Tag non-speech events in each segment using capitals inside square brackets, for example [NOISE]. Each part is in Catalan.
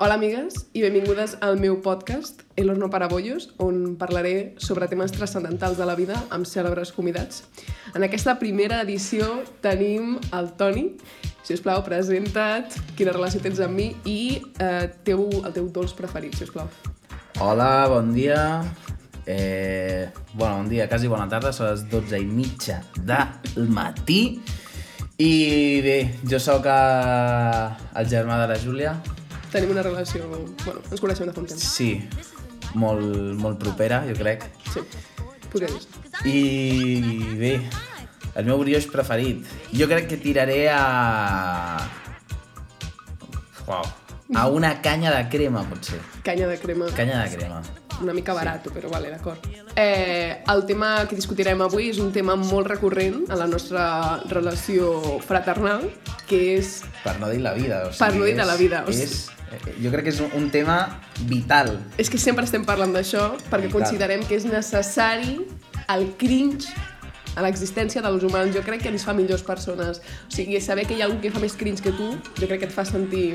Hola amigues i benvingudes al meu podcast El horno para bollos, on parlaré sobre temes transcendentals de la vida amb cèlebres convidats. En aquesta primera edició tenim el Toni. Si us plau, presenta't, quina relació tens amb mi i eh, teu, el teu dolç preferit, si us plau. Hola, bon dia. Eh, bueno, bon dia, quasi bona tarda, són les 12 i mitja del matí. I bé, jo sóc eh, el germà de la Júlia. Tenim una relació... Bueno, ens coneixem de fa un temps. Sí, molt, molt propera, jo crec. Sí, podria dir. I bé, el meu brioix preferit. Jo crec que tiraré a... Uau, a una canya de crema, potser. Canya de crema. Canya de crema. una mica barato, però vale, d'acord. Eh, el tema que discutirem avui és un tema molt recurrent a la nostra relació fraternal, que és... Per no dir la vida. O sigui, Per no dir de la vida, o És, sigui. és, eh, jo crec que és un, un tema vital. És que sempre estem parlant d'això perquè I tant. considerem que és necessari el cringe a l'existència dels humans. Jo crec que ens fa millors persones. O sigui, saber que hi ha algú que fa més cringe que tu, jo crec que et fa sentir,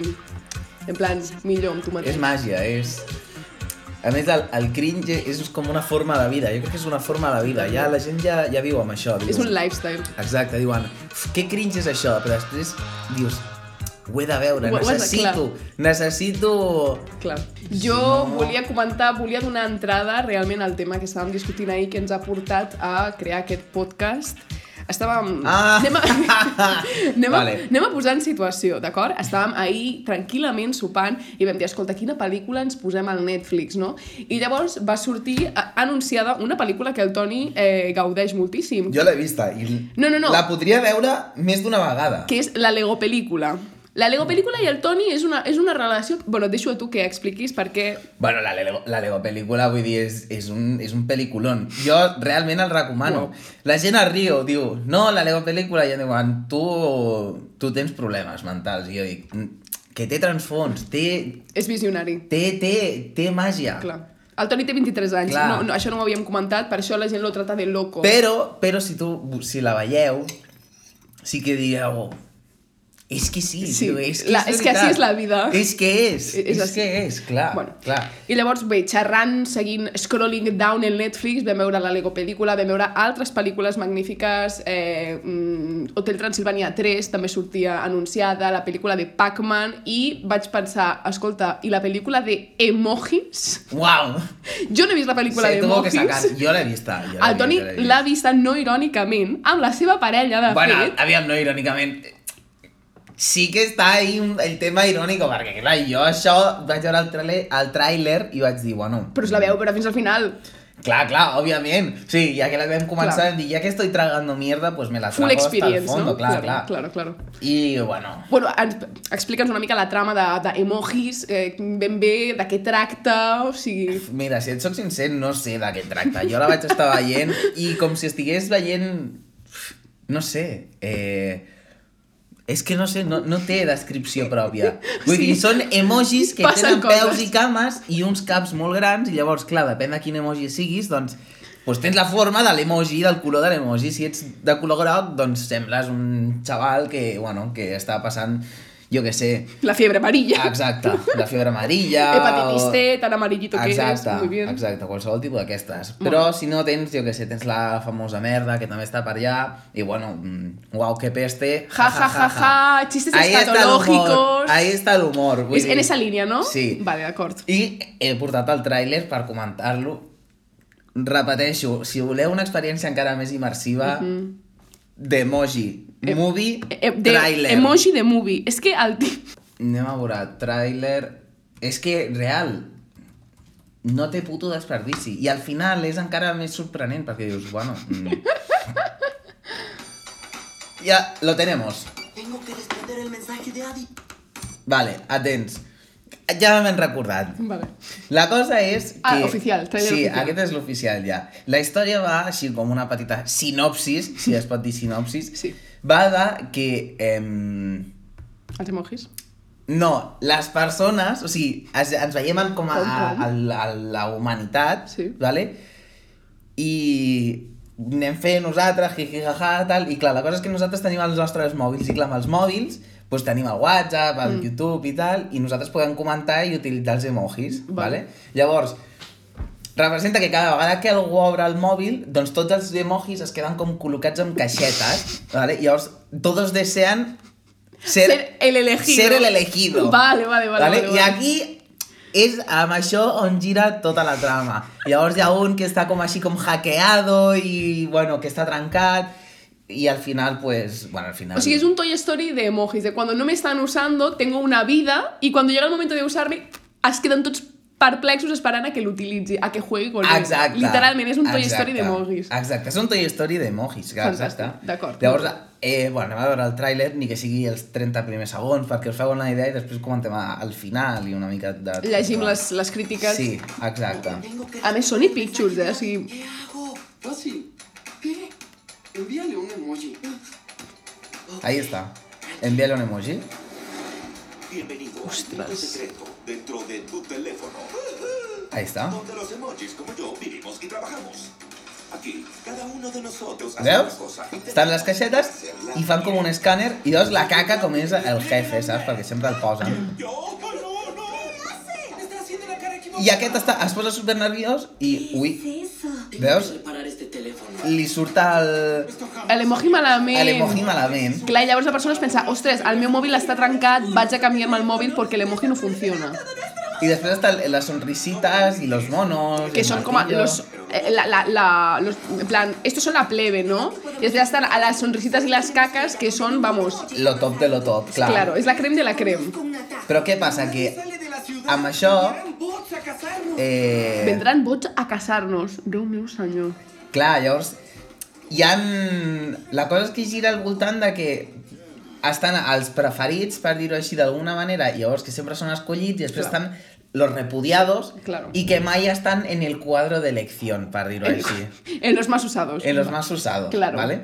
en plan, millor amb tu mateix. És màgia, és... A més, el, el cringe és com una forma de vida. Jo crec que és una forma de vida. Ja la gent ja, ja viu amb això. És un lifestyle. Exacte, diuen, "Uf, què cringe és això? Però després dius, ho he de veure, Ho- ho has de- necessito, necessito... Clar. Jo no- volia comentar, volia donar entrada realment al tema que estàvem discutint ahir que ens ha portat a crear aquest podcast. Estàvem... Ah! Anem, a... [LAUGHS] anem, a... Vale. anem a posar en situació, d'acord? Estàvem ahir tranquil·lament sopant i vam dir, escolta, quina pel·lícula ens posem al Netflix, no? I llavors va sortir eh, anunciada una pel·lícula que el Toni eh, gaudeix moltíssim, Jo l'he vista i No, no, no. la podria veure més d'una vegada. que és la Lego Película. La Lego Película i el Toni és una, és una relació... Bueno, et deixo a tu que expliquis perquè Bueno, la Lego, la Lego pel·lícula, vull dir, és, és, un, és un pel·liculón. Jo realment el recomano. La gent es riu, diu, no, la Lego pel·lícula, i em diuen, tu, tu tens problemes mentals. I jo dic, "Mm, que té transfons, té, és visionari. té, té, té màgia. Clar. El Toni té 23 anys, Clar. no, no, això no ho havíem comentat, per això la gent lo trata de loco. Però, però si tu, si la veieu, sí que dieu, és que sí, Sí, tio, és que, la- és, és que així veritat. és la vida." És que és, És- és és, així. que és, clar, Bueno. clar. I llavors, bé, xerrant, seguint, scrolling down el Netflix, vam veure la Lego pel·lícula, vam veure altres pel·lícules magnífiques, eh, mm, Hotel Transilvania 3 també sortia anunciada, la pel·lícula de Pac-Man, i vaig pensar, escolta, i la pel·lícula de Emojis? Uau! Jo no he vist la pel·lícula Se tuvo que d'Emojis. sacar. Jo l'he vista. Jo l'he El Toni vist, jo l'he vist. l'ha vista no irònicament, amb la seva parella, de Bueno, fet. aviam, no, irònicament... Sí que està ahí un- el tema irònico, perquè clar, jo això vaig veure el tràiler, el tràiler i vaig dir, bueno... Però us la veu, però fins al final. Clar, clar, òbviament. Sí, ja que la vam començar, Clar. vam dir, ja que estoy tragando mierda, pues me la Full trago hasta el experience, fondo, no? clar, clar. claro, claro, claro. I, bueno, Bueno, ens, explica'ns una mica la trama de, de emojis, eh, ben bé, de què tracta, o sigui... mira, si et sóc sincer, no sé de què tracta. Jo la vaig estar veient i com si estigués veient... No sé, eh... És que no sé, no, no té descripció pròpia. Vull dir, són emojis que Passen tenen peus coses. i cames i uns caps molt grans i llavors, clar, depèn de quin emoji siguis, doncs, doncs tens la forma de l'emoji, del color de l'emoji. Si ets de color groc, doncs sembles un xaval que, bueno, que està passant, jo que sé, La fiebre amarilla, Exacte, la febre amarilla... [LAUGHS] hepatitis o- C, tan amarillito que Exacte, eres, muy bien. exacte, qualsevol tipus d'aquestes. Molt Però si no tens, jo que sé, tens la famosa merda que també està per allà i bueno, mm, uau, que peste. Ja, ja, ja, ja, chistes Ahí está el humor, escatológicos. Ahí está el humor. vull És en dir. esa línia, no? Sí. Vale, d'acord. I he portat el tràiler per comentar-lo. Repeteixo, si voleu una experiència encara més immersiva, d'emoji, movie, Mhm. Eh, eh, De, tràiler. emoji de movie. És que el tip... Anem a veure, tràiler... És que, real, no té puto desperdici. I al final és encara més sorprenent, perquè dius, bueno... [LAUGHS] Mm. ja, lo tenemos. Tengo que responder el mensaje de Adi. Vale, atents. Ja m'hem recordat. [LAUGHS] Vale. La cosa és que... Ah, oficial, tràiler Sí, oficial. aquest és l'oficial ja. La història va així com una petita sinopsis, si es pot dir sinopsis. Sí. Va de que... Eh, Els emojis. No, les persones, o sigui, es, ens veiem en com a, Com, com? a, a, a la humanitat, Sí. vale? i anem fent nosaltres, jijijaja, tal, i clar, la cosa és que nosaltres tenim els nostres mòbils, i clar, amb els mòbils, pues, tenim el WhatsApp, Mm. el YouTube i tal, i nosaltres podem comentar i utilitzar els emojis, Val. vale? Llavors, representa que cada vegada que algú obre el mòbil, doncs tots els emojis es queden com col·locats en caixetes, vale? Llavors, todos desean ser, Ser el elegido. Ser el elegido. Vale, vale, vale, vale, I vale. aquí és amb això on gira tota la trama. Llavors hi ha un que està com així com hackeado i, bueno, que està trencat i al final, pues, bueno, al final... O sigui, es un Toy Story de emojis, de cuando no me están usando, tengo una vida, y cuando llega el momento de usarme, es queden tots perplexos esperant a que l'utilitzi, a que juegui con ell. Exacte. Literalment, és un Toy exacte, Story d'emojis. Exacte, és un Toy Story d'emojis, clar, Fantàstic, exacte. d'acord. Llavors, eh, bueno, anem a veure el tràiler, ni que sigui els 30 primers segons, perquè us feu una idea i després comentem al final i una mica de... Llegim les, les crítiques. Sí, exacte. Tengo que A ver, Sony Pictures, eh, así- ¿Qué hago? Fácil. Ah, ¿Qué? Envíale un emoji. Ahí está. Envíale un emoji. Bienvenido Ostras. al mundo secreto dentro de tu teléfono, Ahí está. donde los emojis como yo vivimos y trabajamos. Aquí, cada uno de nosotros hace Veus? una cosa. Estan les caixetes i fan com un escàner i llavors la caca com és el jefe, saps? Perquè sempre el posen. Yo, no, no. ¿Qué hace? Estás haciendo la cara equivocada. I aquest està, es posa super nerviós i, ui, es eso? veus? Reparar este teléfono. Li surt el, L'emoji malament. l'emoji malament. Clar, i llavors la persona es pensa, ostres, el meu mòbil està trencat, vaig a canviar-me el mòbil perquè l'emoji no funciona. I després està el- les sonrisitas i los monos. Que el són com a martillo. los, eh, la, la, la, los, en plan, estos son la plebe, ¿no? Y després estan a las sonrisitas y las cacas, que son, vamos, Lo top de lo top, clar. claro, es la creme de la creme. Con un ataque. Però què passa? Que Sale de la ciudad. amb això... Eran bots a casarnos. Eh, Vendran bots a casar-nos. Déu meu senyor. Clar, llavors hi han... La cosa és que gira al voltant de que estan els preferits, per dir-ho així d'alguna manera, i llavors que sempre són escollits, i després Clar. estan los repudiados Claro. i que mai estan en el quadro d'elecció, per dir-ho així. En los más usados. En los más usados, Claro. ¿vale?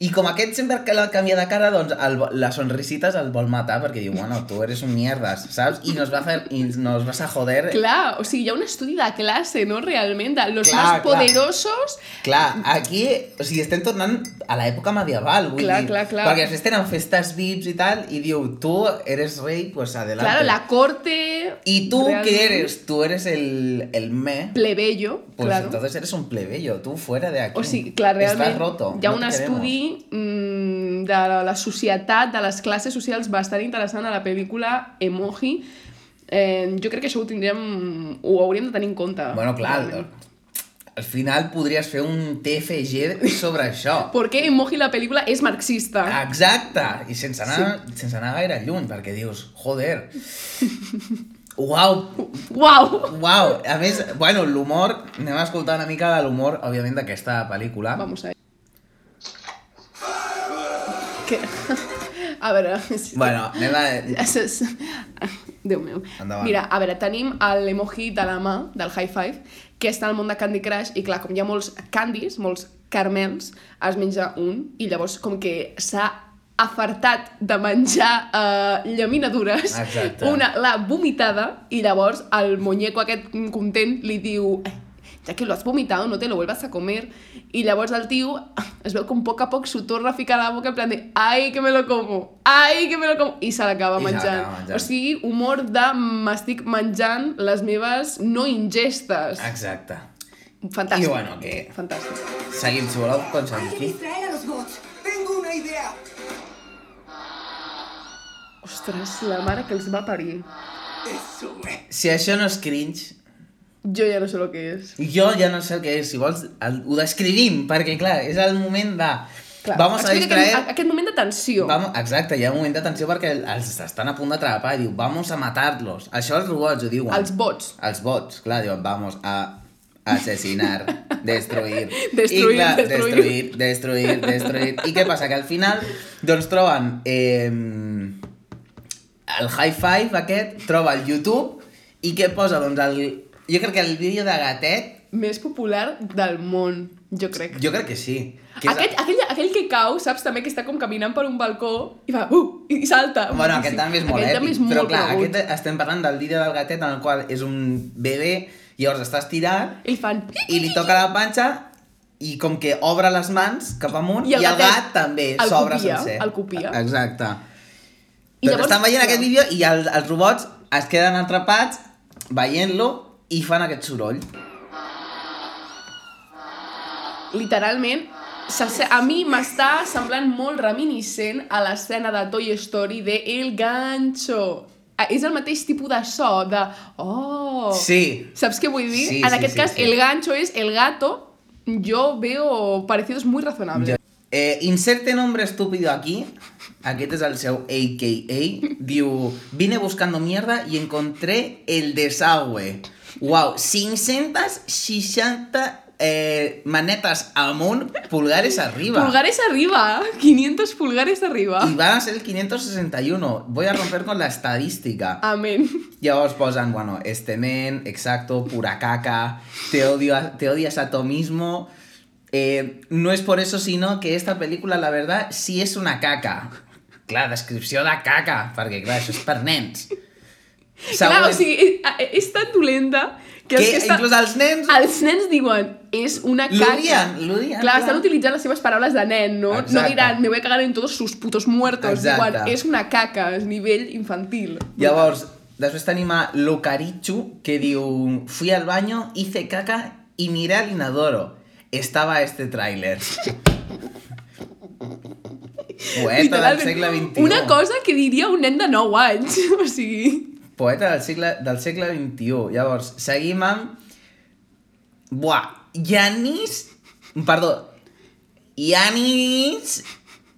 I com aquest sempre que la canvia de cara, doncs el, vo- la sonrisita el vol matar perquè diu, bueno, tu eres un mierdas, saps? I nos, va a hacer, i nos vas a joder Clar, o sigui, hi ha un estudi de classe, no?, realment, de los Clar, más clar. poderosos... Clar, aquí, o sigui, estem tornant a l'època medieval, vull Clar, dir. clar, clar. Perquè després tenen festes vips i tal, i diu, tu eres rei, pues adelante. Claro, la corte... I tu realment, què eres? Tu eres el, el me, Plebeyo, pues claro. entonces eres un plebeyo, tú fuera de aquí. O sigui, clar, realment Estás roto, hi ha no un te queremos. estudi mm, de la, la societat, de les classes socials bastant interessant a la pel·lícula Emoji. Eh, jo crec que això ho tindríem... ho hauríem de tenir en compte. Bueno, clar, realment. al final podries fer un TFG sobre [LAUGHS] això. ¿Por qué Emoji la película es Ah. marxista? Exacte, i sense anar, sense anar gaire lluny, perquè dius, joder, uau, ¡Wow! Wow, a més, bueno, l'humor, anem a escoltar una mica de l'humor, òbviament, d'aquesta pel·lícula. Vamos a ¿Qué? [LAUGHS] A veure... sí. Bueno, anem a... Es- [LAUGHS] es- Déu meu. Endavant. Mira, a veure, tenim l'emoji de la mà, del high five, que està al món de Candy Crush, i clar, com hi ha molts candies, molts carmels, es menja un, i llavors com que s'ha afartat de menjar eh, llaminadures, Exacte. una l'ha vomitada, i llavors el muñeco aquest content li diu "Eh, ja que lo has vomitado, no te lo vuelvas a comer. I llavors el tio [LAUGHS] es veu com a poc a poc s'ho torna a ficar a la boca en plan de ai, que me lo como, ai, que me lo como, i se l'acaba I se menjant. l'acaba menjant. O sigui, humor de m'estic menjant les meves no ingestes. Exacte. Fantàstic. I bueno, que- Fantàstic. Seguim, si voleu, pensant Hay que aquí. distraer a los bots. Tengo una idea. Ostres, la mare que els va parir. Eso, eh. Si això no és cringe, Jo ja no sé el que és. jo ja no sé el que és. Si vols, el, ho descrivim, perquè, clar, és el moment de... Clar, Vamos a explica Aquest, distraer... aquest moment de tensió. Vamos, exacte, hi ha un moment d'atenció perquè els estan a punt d'atrapar i diu, vamos a matar-los. Això els robots ho diuen. Els bots. Els bots, clar, diuen, vamos a [LAUGHS] asesinar, destruir. Destruir, I, clar, destruir. destruir, destruir, destruir. I què passa? Que al final, doncs troben eh, el high five aquest, troba el YouTube i què posa? Doncs el, jo crec que el vídeo de gatet, Més popular del món, jo crec. jo crec que sí. Que és- Aquest, aquell, aquell que cau, saps també que està com caminant per un balcó i va, uh, i i salta. Bueno, Sí, aquest sí. també és molt aquest èpic, també és però molt clar, conegut. aquest estem parlant del vídeo del gatet en el qual és un bebè, llavors està estirat, I fan... i li toca la panxa i com que obre les mans cap amunt i el, gat, gatet també el s'obre copia, sencer. el copia. Exacte. I Doncs llavors- estan veient aquest vídeo i el, els robots es queden atrapats veient-lo i fan aquest soroll. literalment, s'asse- a mi m'està semblant molt reminiscent a l'escena de Toy Story de El Gancho. Ah, És el mateix tipus de so, de... Oh! Sí. Saps què vull dir? Sí, en sí, aquest sí, cas, sí. el gancho es el gato. Yo veo parecidos muy razonables. Eh, inserte nombre estúpido aquí. Aquest és el seu AKA. Diu, vine buscando mierda y encontré el desagüe. Wow, 560 eh, manetes amunt, pulgares arriba. Pulgares arriba, [LAUGHS] 500 pulgares arriba. I van a ser el 561. Voy a romper con la estadística. Amén. Llavors posen, bueno, este men, exacto, pura caca, te, odio a- te odias a tu mismo. Eh, no es por eso, sino que esta película, la verdad, sí es una caca. Clar, descripció de caca, perquè clar, això és per nens. Clar, o sigui, és, a- és tan dolenta que, que, els, que estan, inclús els nens els nens diuen és una caca. l'odien, l'odien. Clar, estan utilitzant les seves paraules de nen, no? No Exacte. diran, me voy a cagar en todos sus putos muertos. Exacte. eh, Diuen, és una caca, és nivell infantil. Llavors, després tenim a Locarichu, que diu... Fui al baño, hice caca y miré al inodoro. Estaba este [LAUGHS] tráiler. Poeta del Literalment, segle XXI. Una cosa que diria un nen de 9 anys. [LAUGHS] O sigui... Poeta del segle, del segle XXI. Llavors, seguim amb... Buah, Yanis... Perdó. Yanis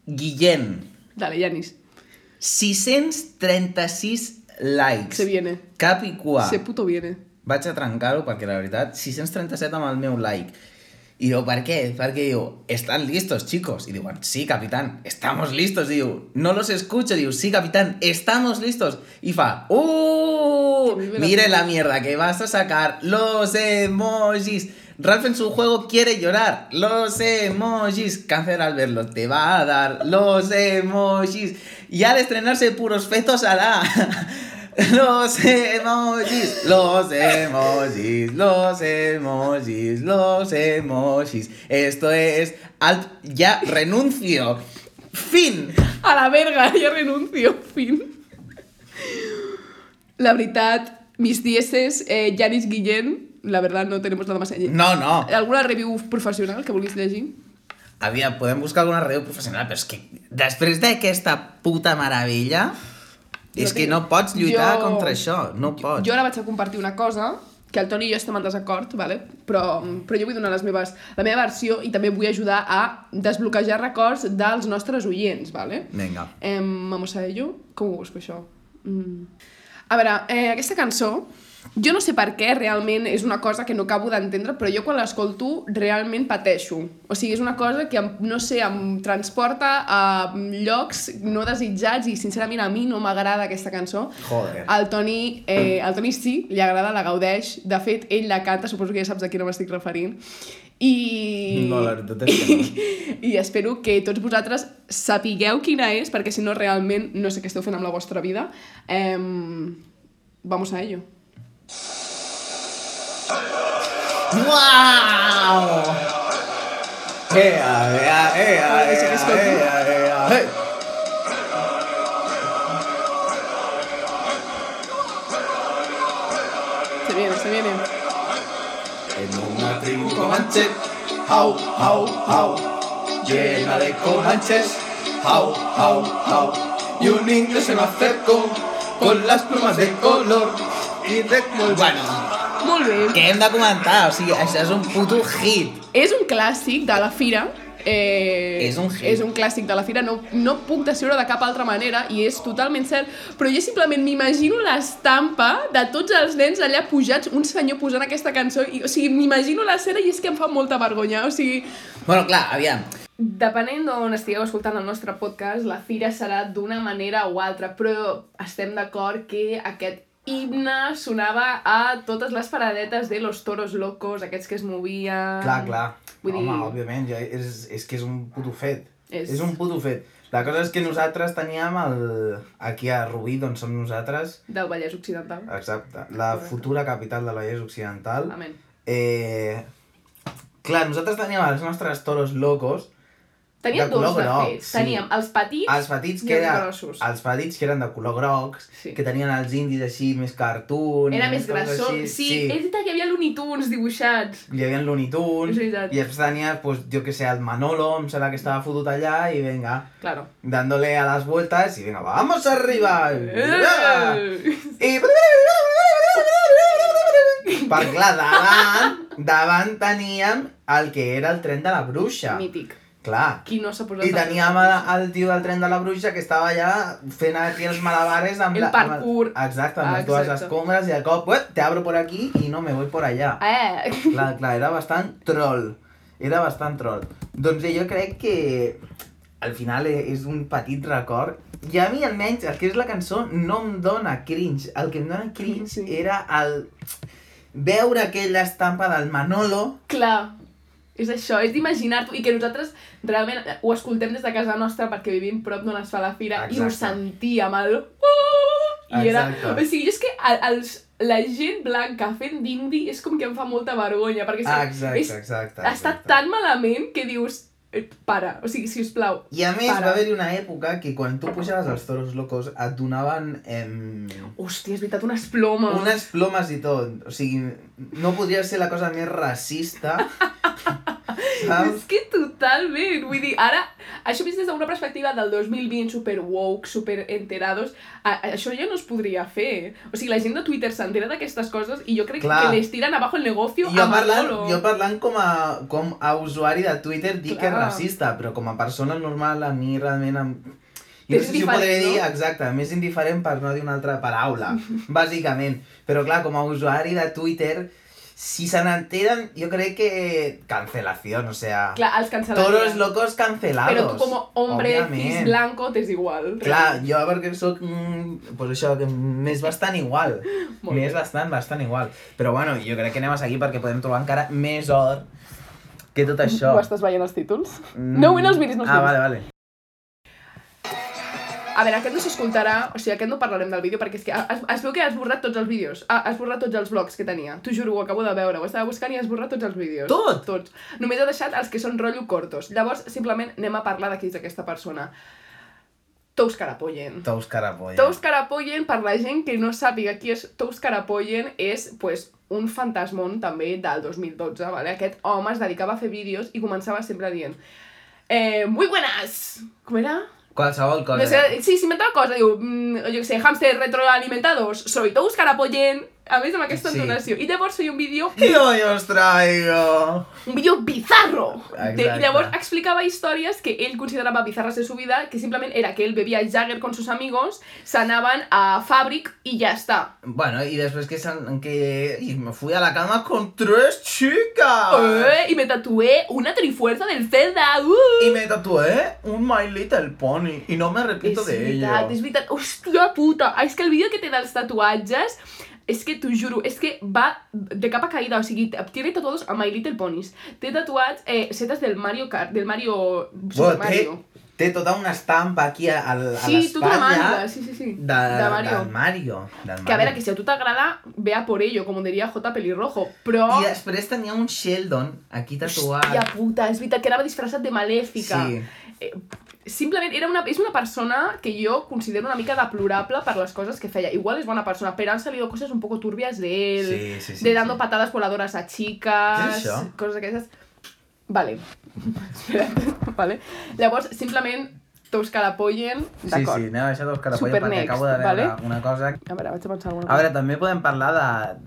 Guillén. Dale, Janis, 636 likes. se viene. Cap i cua. Se puto viene. vaig a trencar-ho perquè la veritat 637 amb el meu like i diu, per què? Perquè diu, estan listos, chicos. I diuen, sí, capitán, estamos listos. I diu, no los escucho. Diu, sí, capitán, estamos listos. I fa, ¡uh! Que vive la Mire mierda". la mierda que vas a sacar. Los emojis. Ralph en su juego quiere llorar. Los emojis. Cáncer al verlo te va a dar. Los emojis. Y al estrenarse puros fetos hará. [LAUGHS] Los emojis, los emojis, los emojis, los emojis. Esto es alt ya renuncio. Fin. A la verga, [LAUGHS] jo renuncio, fin. La veritat, mis dieces, eh, Janis Guillén, la verdad no tenemos nada más allí. No, no. Alguna review professional que vulguis llegir? Aviam, podem buscar alguna ràdio professional, però és que després d'aquesta puta meravella, és Jo que tinc- no pots lluitar jo- contra això, no pots. Jo ara vaig a compartir una cosa que el Toni i jo estem en desacord, vale? però, però jo vull donar les meves, la meva versió i també vull ajudar a desbloquejar records dels nostres oients. Vale? Vinga. Eh, vamos a ello. Com ho busco, això? Mm. A veure, eh, aquesta cançó, jo no sé per què realment és una cosa que no acabo d'entendre, però jo quan l'escolto realment pateixo. O sigui, és una cosa que, em- no sé, em transporta a llocs no desitjats i, sincerament, a mi no m'agrada aquesta cançó. Joder. El Toni, eh, el Toni sí, li agrada, la gaudeix. De fet, ell la canta, suposo que ja saps a qui no m'estic referint. I... No, la veritat és [LAUGHS] que no. I espero que tots vosaltres sapigueu quina és, perquè si no realment no sé què esteu fent amb la vostra vida. Eh, vamos a ello. Uau! Ea, ea, ea, Ara deixa que escolti. ea, ea. Se viene, se viene. En una tribu comanche, how, how, how, llena de comanches, how, how, how. Y un indio se me acercó con las plumas de color y de Bueno, Molt bé. que hem de comentar, o sigui, això és un puto hit. És un clàssic de la fira. Eh, És un hit. és un clàssic de la fira, no, no puc descriure de cap altra manera i és totalment cert, però jo simplement m'imagino l'estampa de tots els nens allà pujats, un senyor posant aquesta cançó, i, o sigui, m'imagino l'escena i és que em fa molta vergonya, o sigui, Bueno, clar, aviam, Depenent d'on estigueu escoltant el nostre podcast, la fira serà d'una manera o altra, però estem d'acord que aquest himne sonava a totes les paradetes de los toros locos, aquests que es movien... Clar, clar. Vull Vull Home, dir- dir... òbviament, ja és, és que és un puto fet. És- És... és un puto fet. La cosa és que nosaltres teníem el... aquí a Rubí, d'on som nosaltres, Del Vallès Occidental. exacte, la Correcte. futura capital del Vallès Occidental. Amén. Eh, Eh... Clar, nosaltres teníem els nostres toros locos, Teníem De dos, color de groc, fet. sí. Ah, Teníem els petits... Els petits, i que els era, grossos. els petits que eren de color grocs, Sí. que tenien els indis així més cartoon... Era més coses grassó. Sí, així, sí, és veritat que hi havia Looney Tunes dibuixats. Hi havia el Looney Tunes, És veritat. i després tenies, pues, jo que sé, el Manolo, em sembla que estava fotut allà, i venga, Claro. dándole a las vueltas, i venga, vamos arriba! I... Eh! i... Per clar, davant, davant teníem el que era el tren de la bruixa. [LAUGHS] Mític. Clar. Qui no s'ha posat... I teníem el, el tio del tren de la bruixa que estava allà fent aquí els malabares amb El la... amb parkour. Exacte, amb les Exacte. dues escombres i de cop, "Uep, te abro por aquí i no me voy por allá. Eh! Clar, clar, era bastant troll. Era bastant troll. Doncs bé, jo crec que al final e- és un petit record. I a mi almenys, el que és la cançó, no em dona cringe. El que em dona cringe Sí. era el veure aquella estampa del Manolo Clar, és això, és d'imaginar-t'ho i que nosaltres realment ho escoltem des de casa nostra perquè vivim prop d'on es fa la fira i ho Exacte. sentíem el... I era... Exacte. O sigui, jo és que el- els, la gent blanca fent d'indi és com que em fa molta vergonya perquè és, que Ah, Exacte, és, exacte. està exacte. tan malament que dius "Eh, para, o sigui, si us plau. I a més, Para. va haver-hi una època que quan tu pujaves als toros locos et donaven em, Hòstia, és veritat, unes plomes. unes plomes i tot. O sigui, no podria ser la cosa més [LAUGHS] racista. És saps? que totalment, vull dir, ara, això vist des d'una perspectiva del 2020 super woke, super enterados, a, a- això ja no es podria fer. O sigui, la gent de Twitter s'entera d'aquestes coses i jo crec Clar. que les tiren abajo el negocio Jo a parlant, Manolo. jo parlant com a, com a usuari de Twitter dic que és Clar. racista, però com a persona normal a mi realment... Em... Jo T'és no sé si ho indiferent, podré dir, no? exacte, més indiferent per no dir una altra [LAUGHS] paraula, bàsicament. Però clar, com a usuari de Twitter, si se n'enteren, jo crec que... Cancelació, o sea... Clar, els cancel·larien. Toros locos cancelados. Però tu com a hombre Òbviament. cis blanco t'és igual. Clar, jo perquè sóc... Mm, pues això, que m'és bastant igual. Molt M'és bastant, bastant igual. Però bueno, jo crec que anem a seguir perquè podem trobar encara més or que tot això. Ho estàs veient els títols? Mm. No, no els miris, no els Ah, miris. vale, vale. A veure, aquest no s'escoltarà, o sigui, aquest no parlarem del vídeo perquè és que es, es veu que has borrat tots els vídeos, ah, has borrat tots els blogs que tenia. T'ho juro, ho acabo de veure, ho estava buscant i has borrat tots els vídeos. Tot? Tots. Només ha deixat els que són rotllo cortos. Llavors, simplement anem a parlar de qui és aquesta persona. Tous Carapoyen. Tous carapolla. Tous Carapoyen, per la gent que no sàpiga qui és Tous Carapoyen, és pues, un fantasmón també del 2012, vale? Aquest home es dedicava a fer vídeos i començava sempre dient eh, Muy buenas! Com era? Qualsevol cosa. No sé, sí, s'inventava coses, diu, mm, jo què sé, hamster retroalimentados, soy tous carapoyen, a més amb aquesta Sí. entonació. I llavors feia un vídeo, I hoy os traigo... un vídeo bizarro. Exacte. De, I llavors explicava històries que ell considerava bizarres de su vida, que simplement era que ell bebia Jagger con sus amigos, s'anaven a Fabric i ja està. Bueno, y después que, san- que y me fui a la cama con tres chicas. Eh, I me tatué una trifuerza del Zelda, uh! Y me tatué un My Little Pony. Y no me arrepiento de veritat, ello. és veritat. Hòstia puta! Ah, És que el vídeo que té dels tatuatges és que t'ho juro, és que va de capa caïda, o sigui, tiene tatuados a My Little Ponies, té tatuats eh, setes del Mario Kart, del Mario... Super Bueno, té, Mario. té tota una estampa aquí a, a, a Sí, tu te la l'espatlla mandes, sí, sí, sí, de, del Mario. Del Que a veure, Mario. que si a tu t'agrada, vea por ello, com diria J. Pelirrojo, però... I després tenia un Sheldon aquí tatuat. Hòstia puta, és veritat que anava disfressat de malèfica. Sí. simplement era una, és una persona que jo considero una mica deplorable per les coses que feia. Igual és bona persona, però han salido coses un poco turbias de él, Sí, sí, sí, de dando sí. patadas voladoras a chicas, Què és això? coses d'aquestes. Vale. [LAUGHS] Espera't, vale. Llavors, simplement, tots que l'apoyen, Sí, d'acord. sí, anem a deixar dos carapolles Super perquè next, acabo de veure vale? una cosa. A veure, vaig a pensar alguna A veure, també podem parlar de... A O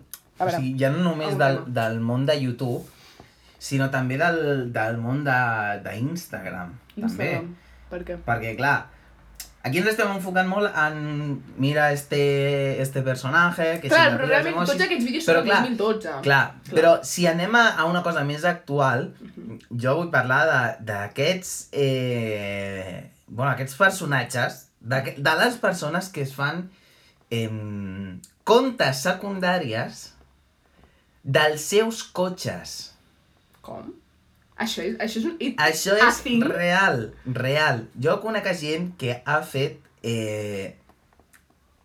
veure. Ah, sigui, ja no només Algun del, tema. del món de YouTube, sinó també del, del món d'Instagram. També. Instagram. Per què? Perquè, clar, aquí ens estem enfocant molt en... Mira este, este personatge... Que Clar, però si t'apures realment emojis", tots aquests vídeos però, són del clar, 2012. Clar, però si anem a, a una cosa més actual, jo vull parlar de- d'aquests... Eh, bueno, aquests personatges, d'aquest- de les persones que es fan eh, contes secundàries dels seus cotxes. Com? Això és, això és un... I, Això A és fi. real, real. Jo conec a gent que ha fet eh,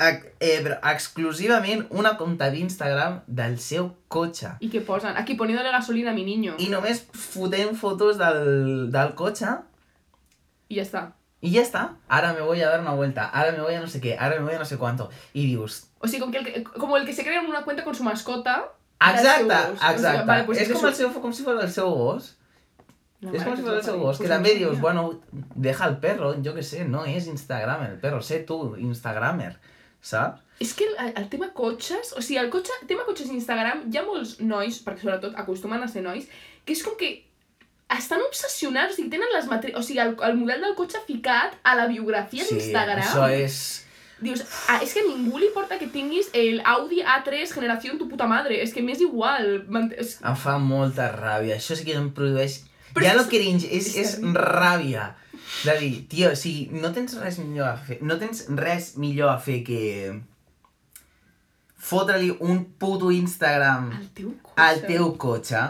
ac, eh, però exclusivament una compte d'Instagram del seu cotxe. I què posen? Aquí poniéndole gasolina a mi niño. I només fotent fotos del, del cotxe i ja està. Y ya está. Ahora me voy a dar una vuelta. Ahora me voy a no sé qué. Ahora me voy a no sé cuánto. Y dius... O sigui, com, que el, que- com el que se crea una cuenta con su mascota... Exacte, del seu gos. O exacte. sigui, vale, pues és, que com, el seu, com si fos el seu gos. No, és mare, com si que fos el te'l seu pariu. gos, que Pues no també sabia. dius, bueno, deja el perro, jo que sé, no és Instagram el perro, sé tu, Instagramer, saps? És que el, el tema cotxes, o sigui, el cotxe, el tema cotxes i Instagram, hi ha molts nois, perquè sobretot acostumen a ser nois, que és com que estan obsessionats, o sigui, tenen les matri... o sigui, el, el model del cotxe ficat a la biografia d'Instagram. això és... Dius, ah, és que a ningú li importa que tinguis el Audi A3 generació tu puta madre, és que m'és igual. m'ent- És... Em fa molta ràbia, això sí que em produeix... Però ja és- no cringe, és, és és ràbia. De dir, tio, o sigui, no tens res millor a fer, no tens res millor a fer que fotre-li un puto Instagram El teu cotxe. al teu cotxe.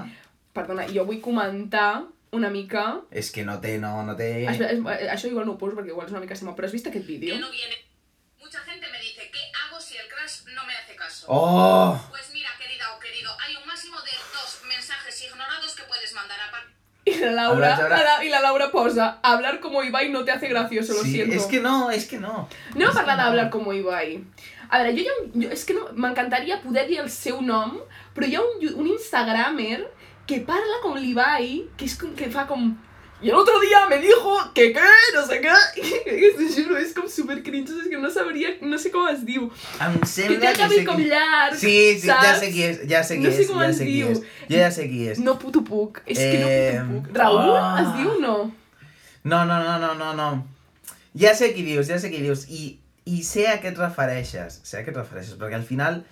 Perdona, jo vull comentar una mica... És que no té, no, no té... Espera, es- eh, això igual no ho poso perquè igual és una mica sema, però has vist aquest vídeo? que no viene. Mucha gente me dice, ¿qué hago si el crash no me hace caso? Oh! Pues mira, querida o querido, hay un máximo de dos mensajes ignorados que puedes mandar a partir Y la Laura, Hablar ahora- la la- y la Laura posa, hablar como Ibai no te hace gracioso, lo sí, siento. és que no, és que no. No m'ha parlat d'hablar com Ibai. A veure, jo, hi ha un, jo és que no, m'encantaria poder dir el seu nom, però hi ha un, un instagramer que parla com l'Ibai, que, és com, que fa com... Y el otro día me dijo que qué, no sé qué. [LAUGHS] Es, juro, és com super cringe, és que no sabria, no sé com es diu. Em Que sembla té el cabell sé com qui- llarg, Sí, sí, ja saps? sé qui és, ja sé qui No sé és, com ja es sé qui diu. és. Jo ja sé qui és. No puto puc, és que no Eh, puto puc. Raül ah. es diu no? No, no, no, no, no, no. Ja sé qui dius, ja sé qui dius. I, i sé a què et refereixes, sé a què et refereixes, perquè al final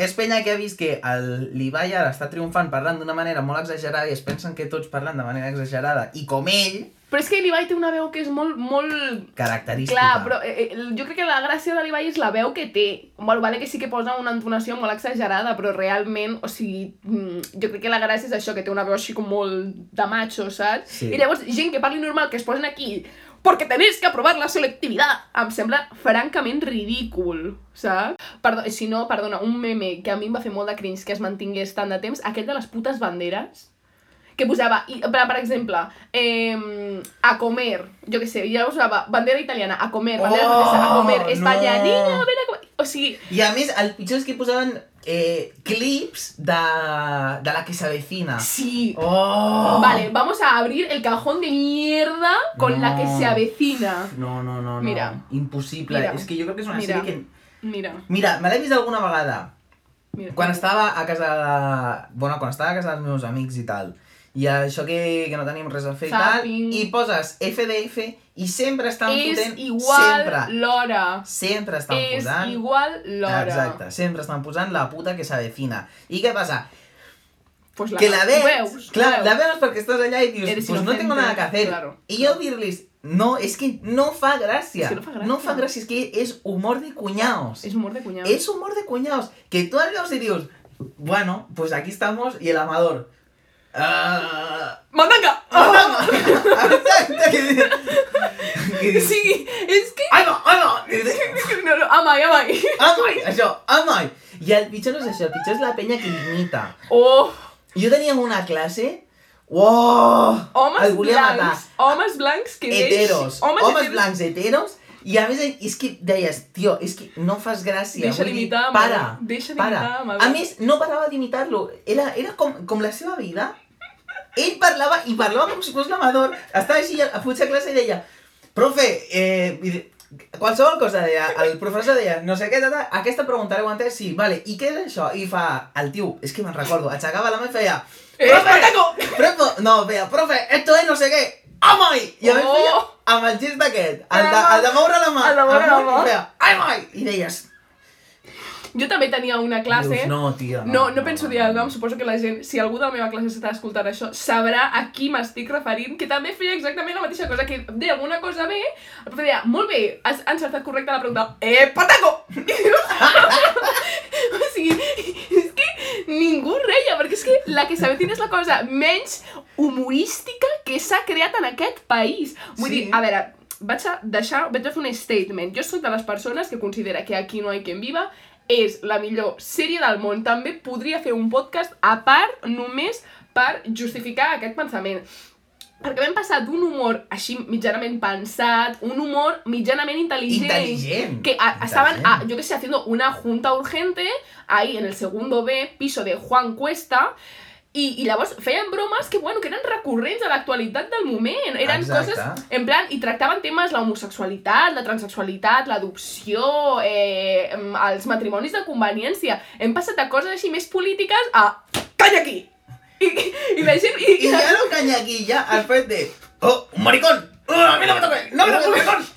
és penya que ha vist que el l'Ibai ara està triomfant parlant d'una manera molt exagerada i es pensen que tots parlen de manera exagerada. I com ell, Però és que l'Ibai té una veu que és molt, molt característica. Clar, però eh, eh, jo crec que la gràcia de l'Ibai és la veu que té. Bueno, vale que sí que posa una entonació molt exagerada, però realment, o sigui, mm, jo crec que la gràcia és això, que té una veu així com molt de macho, saps? Sí. I llavors, gent que parli normal, que es posen aquí perquè tenés que aprovar la selectivitat, em sembla francament ridícul, saps? Perdó, si no, perdona, un meme que a mi em va fer molt de cringe que es mantingués tant de temps, aquell de les putes banderes, que posava, i, per, per exemple, eh, a comer, jo què sé, i llavors posava bandera italiana, a comer, bandera Oh, francesa, a comer, espanyolina, no. no. ven a comer... O sigui, I a més, el pitjor és que posaven eh, clips de, de la que s'avecina. sí. Oh! Vale, vamos a abrir el cajón de mierda con la que No. se avecina. No, no, no, no. Mira. Impossible. Mira. És que jo crec que és una Mira. sèrie que... Mira, Mira, me l'he vist alguna vegada. mira. Quan estava a casa de... Bueno, quan estava a casa dels meus amics i tal. I això que, que no tenim res a fer i tal. Zapping. I poses FDF i sempre estan És fotent... igual Sempre. l'hora. Sempre estan És posant... igual Ah, l'hora. Exacte, sempre estan posant la puta que s'avecina. I què passa? Pues la, que la ves, veus, veus, clar, ho la veus. veus porque estás allá y dices, Eres pues no tengo inocente, nada que hacer. claro. y yo dirles, no, es que no fa gracia. Es que no fa gracia. No fa gracia, es que es humor de cuñados. És humor de cunyado. Es humor de cuñados. Que tú hablas y dices, bueno, pues aquí estamos y el amador. [LAUGHS] ah, ¡Mandanga! ¡Ah! Exacto, que- que [LAUGHS] dices, Sí, es [LAUGHS] que... [LAUGHS] "Ai, va, ai, va", dices, No, no, amai, amai. [LAUGHS] "Amai", això, "Amai". I el pitjor no és això, el pitjor és la penya que imita. Oh, Jo tenia una classe... Uau! homes el volia blancs, matar. homes blancs que deix- Heteros. Homes, Homes, blancs heteros. I a més, és que deies, tio, és que no fas gràcia. Deixa vull dir, d'imitar Amador, Para, deixa para. d'imitar Amador. A més, no parava d'imitar-lo. Era, era com, com la seva vida. Ell parlava i parlava com si fos l'amador. Estava així a puig a classe i deia, profe, eh, i de- qualsevol cosa deia, el professor deia, no sé què, tata, aquesta pregunta l'heu entès? Sí, vale, i què és això? I fa, el tio, és que me'n recordo, aixecava la mà i feia, Eh, Espartaco! Profe, no, vea, profe, esto es no sé què. Amai! I a més Oh! feia amb el gest d'aquest, el, de, el de moure la mà. El de moure la mà. I feia, amai! I deies... Jo també tenia una classe... Dius, no, tia. No, no penso dir el nom, suposo que la gent, si algú de la meva classe s'està escoltant això, sabrà a qui m'estic referint, que també feia exactament la mateixa cosa, que deia alguna cosa bé, el profe deia, molt bé, has encertat correcte la pregunta, eh, pataco! [LAUGHS] o sigui, és que ningú reia, perquè és que la que s'avecina és la cosa menys humorística que s'ha creat en aquest país. Vull Sí. dir, a veure, vaig a deixar, vaig a fer un statement. Jo sóc de les persones que considera que Aquí no hay quien viva és la millor sèrie del món. També podria fer un podcast a part només per justificar aquest pensament. Perquè vam passar d'un humor així mitjanament pensat, un humor mitjanament intel·ligent. Intel·ligent. Que a- estaban, Intel·ligent. a- yo que sé, haciendo una junta urgente ahí en el segundo B, piso de Juan Cuesta, i, i llavors feien bromes que, bueno, que eren recurrents a l'actualitat del moment. Eren Exacte. coses, en plan, i tractaven temes la homosexualitat, la transexualitat, l'adopció, eh, em, els matrimonis de conveniència. Hem passat de coses així més polítiques a... Calla aquí! I, i la gent... I, Y ya lo caña aquí, ya, al frente. ¡Oh, un maricón! ¡Oh, a mí no me toques! ¡No me toques, maricón!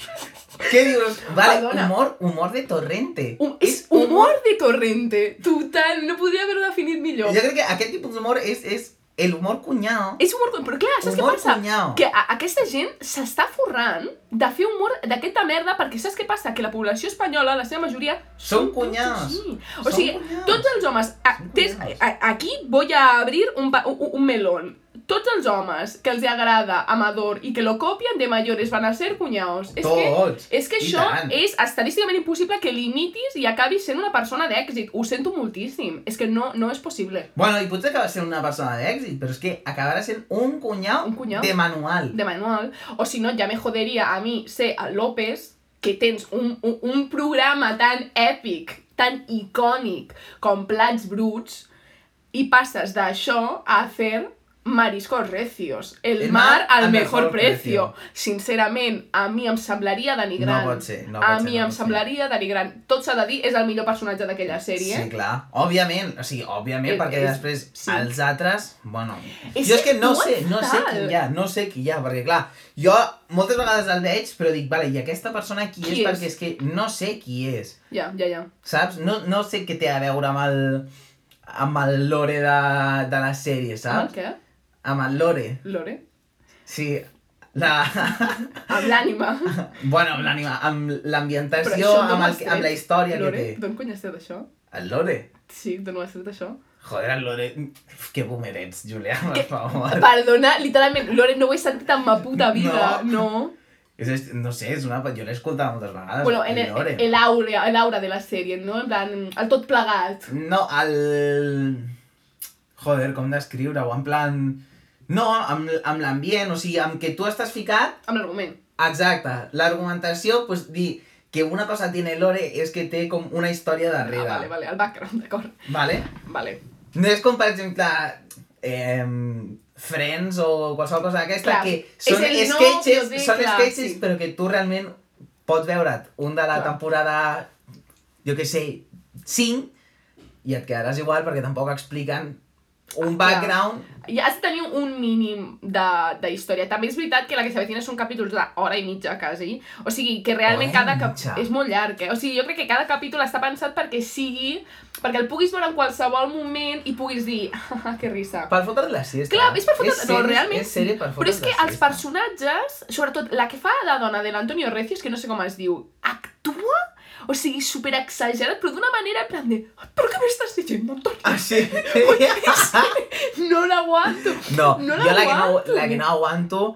¿Qué dios? Vale, Perdona. humor, humor de torrente. Hum- "Um, és humor de torrente, total, no podria haver-ho definit millor. Yo creo que aquel tipo de humor es, es el humor cuñado. És humor, però clar, saps què Humor passa? cunyau. Que a aquesta gent s'està forrant de fer humor d'aquesta merda perquè saps què passa? Que la població espanyola, la seva majoria, Són tots cunyaus. així. O Són sigui, cunyaus. tots els homes... A, Són tens, cunyaus. a, aquí voy a abrir un, pa- un, un melón. Tots els homes que els agrada Amador i que lo copien de mayores van a ser cunyaos. És que... Tots. És que I això tant. és estadísticament impossible que l'imitis i acabis sent una persona d'èxit. Ho sento moltíssim. És que no, no és possible. Bueno, y puede acabar siendo una persona de éxito, pero es que acabará siendo un cuñado, Un cunyau. de manual. De manual. O si no, ja me joderia a mi ser a López, que tens un, un, un programa tan èpic, tan icònic com Plats Bruts, i passes d'això a fer mariscos recios. El, El mar, al mejor, mejor precio. precio. Sincerament, a mi em semblaria denigrant. No pot ser, no a pot ser, mi no em pot ser. semblaria denigrant. Tot s'ha de dir, és el millor personatge d'aquella sèrie. Sí, clar. Òbviament, o sigui, òbviament, Eh, perquè és- després sí. els altres, bueno... És jo és que que no tu sé, ets no sé qui tal. hi ha, no sé qui hi ha, perquè clar, jo moltes vegades el veig, però dic, vale, i aquesta persona qui, Qui és? és? Perquè és que no sé qui és, Ja, ja, ja. saps? No, no sé què té a veure amb el, amb el lore de, de la sèrie, Amb el saps? què? Amb el lore, Lore? sí. La... Amb [LAUGHS] l'ànima. bueno, amb l'ànima, amb Però l'ambientació, això d'on amb, ho el, has que- amb la tret? història Lore? que té. D'on cony has tret això? El lore. Sí, d'on ho has tret això? Joder, el lore... Que boomer ets, Julià, per Que- favor. [LAUGHS] Perdona, literalment, Lore, no ho he sentit en ma puta vida, no. És, est- no sé, és una... Jo l'he escoltat moltes vegades. Bueno, en el, Lore. el, aura, el aura de la sèrie, no? En plan, el tot plegat. No, el... Joder, com descriure-ho, en plan... No, amb, amb l'ambient, o sigui, amb que tu estàs ficat... Amb l'argument. Exacte, l'argumentació, pues, dir que una cosa tiene lore és que té com una història Ah, darrere. vale, vale, el background, d'acord. Vale? Vale. No és com, per exemple, eh, Friends o qualsevol cosa d'aquesta, Clar, que és són el sketches, núcleo de- són clar, sketches sí. però que tu realment pots veure't un de la Clar. temporada, jo que sé, 5, i et quedaràs igual perquè tampoc expliquen Ah, un clar. background Ja has de tenir un mínim de, de història. També és veritat que la que s'avecina són capítols d'hora i mitja, quasi. O sigui, que realment Hora i cada cap... mitja. És molt llarg, eh? O sigui, jo crec que cada capítol està pensat perquè sigui... Perquè el puguis veure en qualsevol moment i puguis dir... [LAUGHS] "Ah, ah, que risa. per fotre la siesta. Clar, és per fotre... És no, sèrie- realment... És sèrie per Però és fotre's que la els siesta. personatges, sobretot la que fa de dona de l'Antonio Recio, és que no sé com es diu, actua? O sigui, super exagerat, però d'una manera en plan de... Però què m'estàs dient, Antonio? Ah, [LAUGHS] sí? [LAUGHS] No l'aguanto. No, No jo la que no, l'aguanto. la que no aguanto...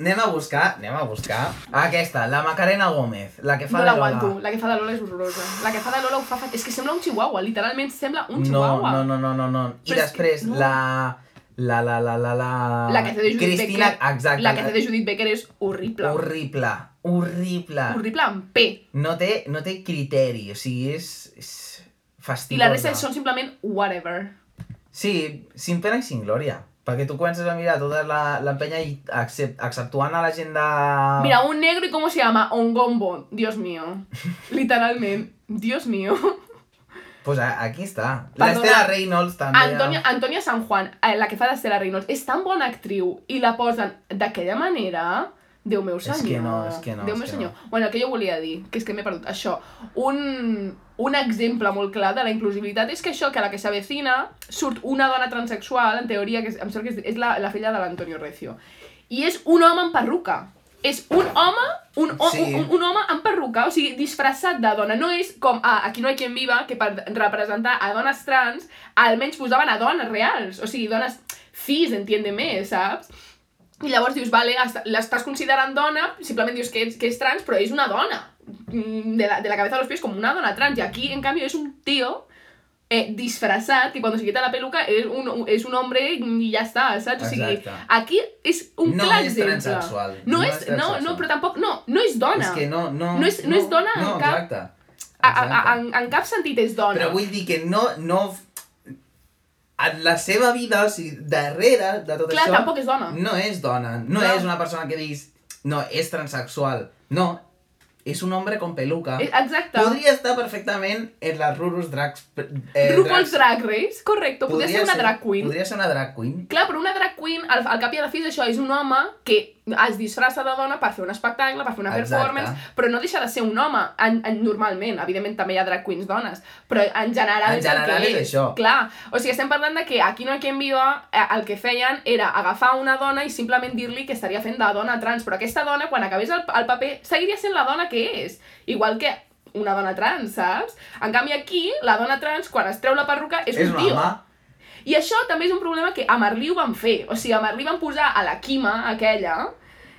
Anem a buscar, anem a buscar... Aquesta, la Macarena Gómez, la que fa No de Lola. l'aguanto. La que fa de Lola és horrorosa. La que fa de Lola ho fa... fa- És que sembla un chihuahua, literalment sembla un No, chihuahua. no, no, no, no, no. I Però és després, que no. la... La, la, la, la, la... La que té de Judith Cristina, Becker. exacte. La que té de Judith Becker és horrible. Horrible, horrible. Horrible amb P. No té, no té criteri, o sigui, és... és I fastigosa. la resta són simplement whatever. Sí, sin pena i sin glòria. Perquè tu comences a mirar tota la, la penya i accept, exceptuant a la gent de... Mira, un negro y cómo se llama, Ongombo, Dios [LAUGHS] mío. Literalmente, Dios mío. Pues a- aquí està. Perdona. ah, L'Estela Reynolds també. Antonia, Antonia San Juan, eh, la que fa d'Estela Reynolds, és tan bona actriu i la posen d'aquella manera... Déu meu És senyor. que no, és que no, Déu és meu que senyor. Bueno, el que jo volia dir, que és que m'he perdut, això, un, un exemple molt clar de la inclusivitat és que això, que a la que s'avecina surt una dona transexual, en teoria, que és, em sembla que és, és la, la filla de l'Antonio Recio, i és un home amb perruca. És un home, un, ho- Sí. un, un home amb perruca, o sigui, disfressat de dona. No és com a Aquí no hi ha quien viva, que per representar a dones trans, almenys posaven a dones reals, o sigui, dones cis, entiéndeme, saps? I llavors dius, vale, hasta- l'estàs considerant dona, simplement dius que, ets, que és trans, però és una dona. Mm, De la, de la cabeza a los pies com una dona trans. I aquí, en canvi, és un tio eh, disfrazat, que cuando se quita la peluca es un, un- es un hombre y ya està, saps? O sigui, Exacte. aquí és un No clar és exemple. transsexual, No, no és, és no, transsexual. no, però tampoc, no, no és dona. És que no, no... No és- no és dona en no, cap- Exacte. A, a, a, exacte. en, en cap sentit és dona. Però vull dir que no, no... En la seva vida, o sigui, darrere de tot Clar, això... tampoc és dona. No és dona, no Clar. és una persona que diguis, no, és transexual. No, és un home con peluca. Eh, Exacte. Podria estar perfectament en la Rurus Drags... Eh, RuPaul's Drag Race, correcte, podria, ser una drag queen. Podria ser una drag queen. Clar, però una drag queen, al, al cap i a la fi d'això, és un home que es disfressa de dona per fer un espectacle, per fer una Exacte. performance, però no deixa de ser un home, en, en, normalment. Evidentment també hi ha drag queens dones, però en general En és el general que és això. Clar, o sigui, estem parlant de que aquí no hi ha quien viva, eh, el que feien era agafar una dona i simplement dir-li que estaria fent de dona trans, però aquesta dona, quan acabés el, el paper, seguiria sent la dona que és. Igual que una dona trans, saps? En canvi aquí, la dona trans, quan es treu la perruca, és, un tio. I això també és un problema que a Marlí ho van fer. O sigui, a Marlí van posar a la Quima aquella,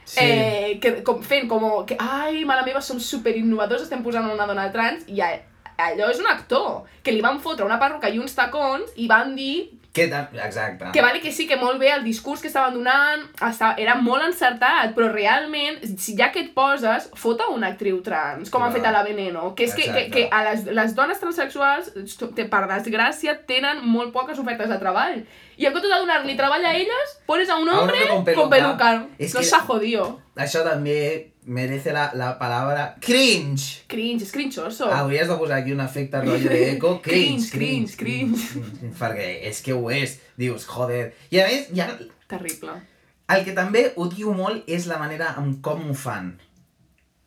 Sí. eh, que, com, fent com que, ai, mare meva, som superinnovadors, estem posant una dona trans, i a, allò és un actor, que li van fotre una perruca i uns tacons i van dir Que ta- Exacte. que vale que sí, que molt bé el discurs que estaven donant està, era molt encertat, però realment, si ja que et poses, fota una actriu trans, com ha Clar. fet a la Veneno, que és que, que, Exacte. que a les, les dones transexuals, te- per desgràcia, tenen molt poques ofertes de treball. I en comptes de donar-li treball a elles, pones a un A un home hombre con con peluca. peluca. És no que- s'ha jodido. Això també merece la, la paraula cringe. Cringe, és crinchoso. Hauries de posar aquí un efecte rotllo d'eco. Cringe, Oh. [LAUGHS] Cringe, cringe, cringe, cringe. Mm, Perquè és que ho és. Dius, joder. I a més, ja, Terrible. el que també odio molt és la manera en com ho fan.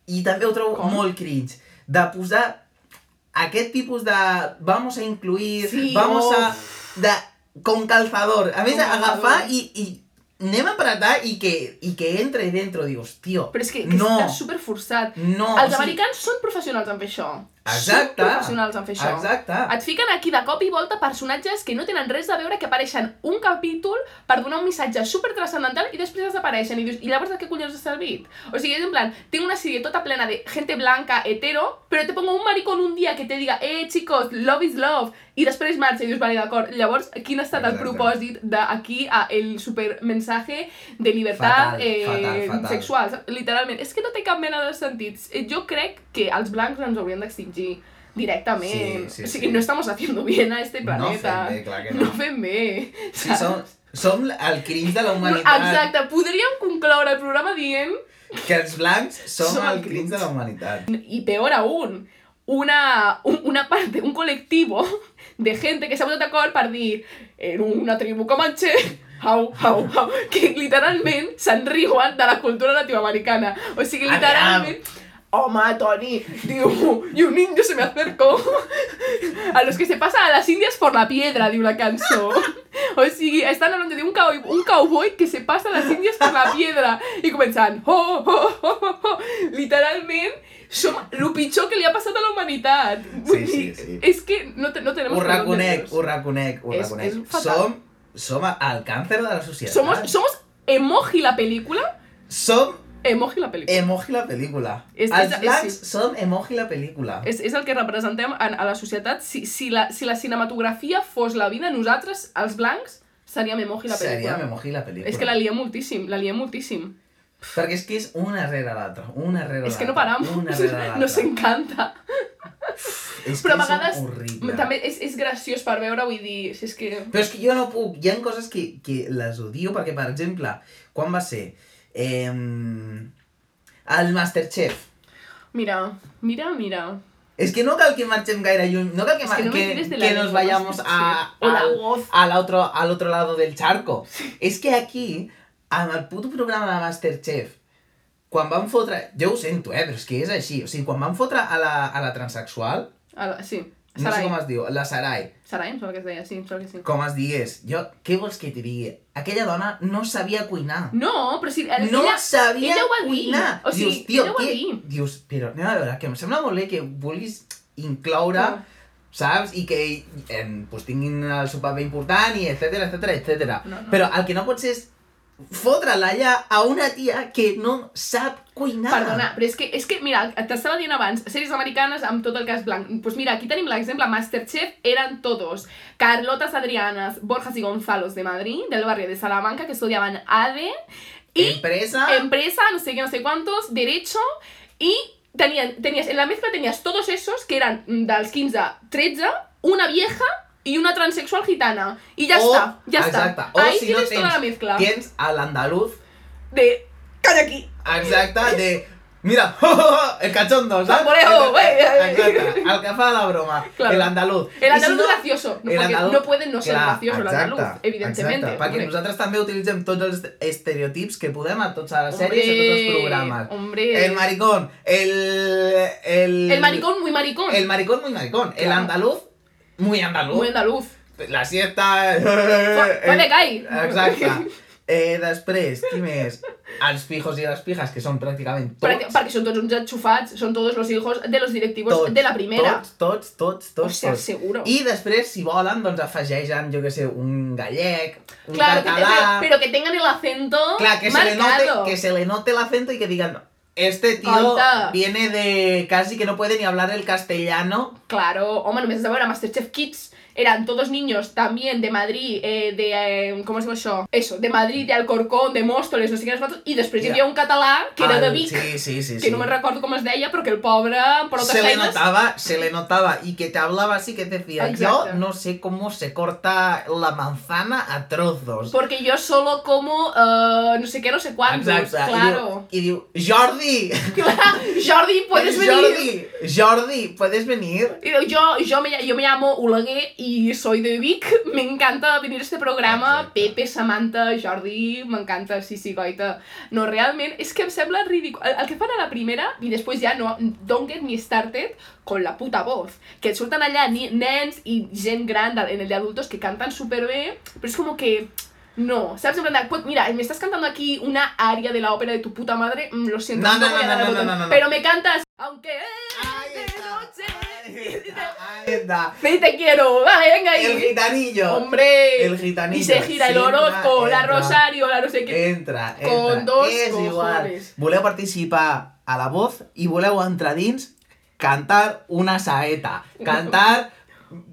I també ho trobo Com? molt cringe. De posar aquest tipus de... Vamos a incluir, Sí, vamos oh. a... De, con calzador. A més, Con calzador. agafar i, i anem a apretar i que, i que entre dentro. Dius, tio, Però és que, que no, està superforçat. no. o Els sigui, americans són professionals en fer això. Exacte. Són professionals en fer això. Exacte. Et fiquen aquí de cop i volta personatges que no tenen res a veure, que apareixen un capítol per donar un missatge super transcendental i després desapareixen. I dius, i llavors de què collons ha servit? O sigui, és en plan, tinc una sèrie tota plena de gente blanca, hetero, però te pongo un maricón un dia que te diga, eh, chicos, love is love, i després marxa i dius, vale, d'acord. Llavors, quin ha estat el Exacte. propòsit d'aquí a el super mensaje de libertat Fatal, eh, fatal, fatal. sexual? saps? Literalment. És que no té cap mena de sentit. Eh, Jo crec que els blancs ens haurien d'extingir directament. Sí, sí, o sigui, sí. no estamos haciendo bien a este No fem planeta. bé, clar que [LAUGHS] No no. fem bé. Sí, som, som el cringe de la No, humanitat. exacte, podríem concloure el programa dient, Que els blancs som, Som el el cringe de la humanitat. i peor aún, una, un- una parte, un colectivo de gente que s'ha posat d'acord per dir en una tribu comanche, hau, hau, hau, que literalment se'n riuen de la cultura latinoamericana. O sigui, Aviam. literalment... Home, Toni, diu, y un indio se me acercó. A los que se pasa a las indias por la piedra, diu la cançó. O sigui, estan hablando de un, cowboy, un cowboy que se pasa a las indias por la piedra. "Oh, I començant, ho, ho, ho, ho, ho. Literalment, som el pitjor que li ha passat a la humanitat. Vull sí, dir, sí. És que no, te, no tenemos Ho perdón de reconec, Dios. ho reconec, ho És- reconec. és fatal. som, som el càncer de la societat. Somos, somos emoji la película, Som emoji la pel·lícula. emoji la pel·lícula. És- els és- blancs sí. som emoji la pel·lícula. És, és el que representem en, a la societat. Si, si, la, si la cinematografia fos la vida, nosaltres, els blancs, seríem emoji la Seria pel·lícula. emoji la pel·lícula. És que la liem moltíssim, la liem moltíssim. Perquè és que és una rere l'altra, una rere l'altra. És que no paramos, [LAUGHS] Una rere l'altra. nos encanta. És Però a que és vegades horrible. també és, és graciós per veure, vull dir, si és que... Però és que jo no puc, hi ha coses que, que les odio, perquè, per exemple, quan va ser? Eh, el Masterchef. Mira, mira, mira. És que no cal que marxem gaire lluny, no cal que, És que mar- no me que, tires de que, la nos lengua, vayamos a, sí. O la al, voz. al, otro, al otro lado del charco. És que aquí, amb el puto programa de Masterchef, quan van fotre... Jo ho sento, eh, però és que és així. O sigui, quan van fotre a la, a la transexual, A la, sí, no sé Sarai. com es diu, la Sarai, Sarai, em sembla que es deia, sí, em sembla que sí. com es digués, jo, què vols que t'hi digui? Aquella dona no sabia cuinar. No, però si... no ella, sabia ella ho va dir. cuinar. O sigui, dius, tio, ella ho va què- dir. Dius, però anem a veure, que em sembla molt bé que vulguis incloure, Clar. saps? I que eh, pues, tinguin el seu paper important i etcètera, etcètera, etcètera. No, no. Però el que no pots és fotre-la ja a una tia que no sap cuinar. Perdona, però és que, és que mira, t'estava dient abans, sèries americanes amb tot el cas blanc. Doncs pues mira, aquí tenim l'exemple, Masterchef eren todos. Carlotas Adrianas, Borjas y Gonzalos de Madrid, del barrio de Salamanca, que estudiaban ADE, y Em- Empresa... empresa, no sé qué, no sé cuántos, derecho, y tenían, tenías, en la mezcla tenías todos esos, que eran mm, dels 15 13, una vieja y una transexual gitana. Y ya está, ya exacte. está. Ah, O Ahí si no tienes tens, toda la mezcla Tens a l'andaluz, de... ¡Calla aquí! exacte, de... Mira, [LAUGHS] el cachondo, saps? Tamboreo, Ah, güey. Exacte, el que fa la broma, Claro. el andaluz. El I si andaluz no- gracioso, no, el porque andaluz- no puede no ser Clar, gracioso el exacte, andaluz, evidentemente. Exacte, perquè hombre. nosaltres també utilitzem tots els estereotips que podem a totes les Hombre, sèries i a tots els programes. hombre. El maricón, el... El, El maricón muy maricón. El maricón muy maricón. El Claro. andaluz muy andaluz. Muy andaluz. La [LAUGHS] siesta... Fa de gai. Exacte. [LAUGHS] Eh, després, qui més? Els pijos i les pijas, que són pràcticament tots. Perquè, perquè són tots uns enxufats, són tots els hijos de los directivos tots, de la primera. Tots, tots, tots, O tots. sea, tots. seguro. I després, si volen, doncs afegeixen, jo que sé, un gallec, un Claro, que te- català... pero, pero que tengan el acento Clar, que se, le note, marcado. que se le note el acento y que digan, este tío Alta. viene de casi que no puede ni hablar el castellano. Claro, home, només es de veure Masterchef Kids. Eran todos niños también de Madrid, eh, de... Eh, com es diu això? Eso, de Madrid, de Alcorcón, de Móstoles, no sé quines quantos, i després hi Ja. havia un català que era de Al- Vic, Sí, sí, sí. que sí. no me'n recordo com es deia, però que el pobre, per altres se le feines, notaba, se le notaba y que te hablaba así que te decía, Exacto. yo no sé cómo se corta la manzana a trozos. Porque yo solo como eh, no sé qué, no sé cuántos. Exacte. Claro. I diu, i diu Jordi, Jordi, puedes venir. [LAUGHS] Jordi, Jordi, puedes venir. Y digo, Yo, yo, me, ll- yo me llamo Ulagué y soy de Vic. [LAUGHS] Me encanta venir a este programa. Exacte. Pepe, Samantha, Jordi, m'encanta, sí, sí, goita. No, realment, és que em sembla ridícul. El, el que fan a la primera i després ja no, don't get me started con la puta voz. Que et surten allà ni, nens i gent gran de- en el de adultos que canten superbé, però és com que... No, ¿sabes? En plan, de, pues, mira, me estás cantando aquí una aria de la ópera de tu puta madre, mm, lo siento, No, te no, voy a no, dar no, el no, botón, no, no, no. pero me cantas, aunque Ahí es de está, [LAUGHS] ahí noche, está, ahí está. Sí, te quiero, vale, venga El ahí. gitanillo. Hombre. El gitanillo. Y se gira el Siempre Orozco, la entra. Rosario, la no sé eh, qué. Entra, entra. Con dos és igual. cojones. Voleu participar a la voz i voleu entrar dins, cantar una saeta, [LAUGHS] cantar,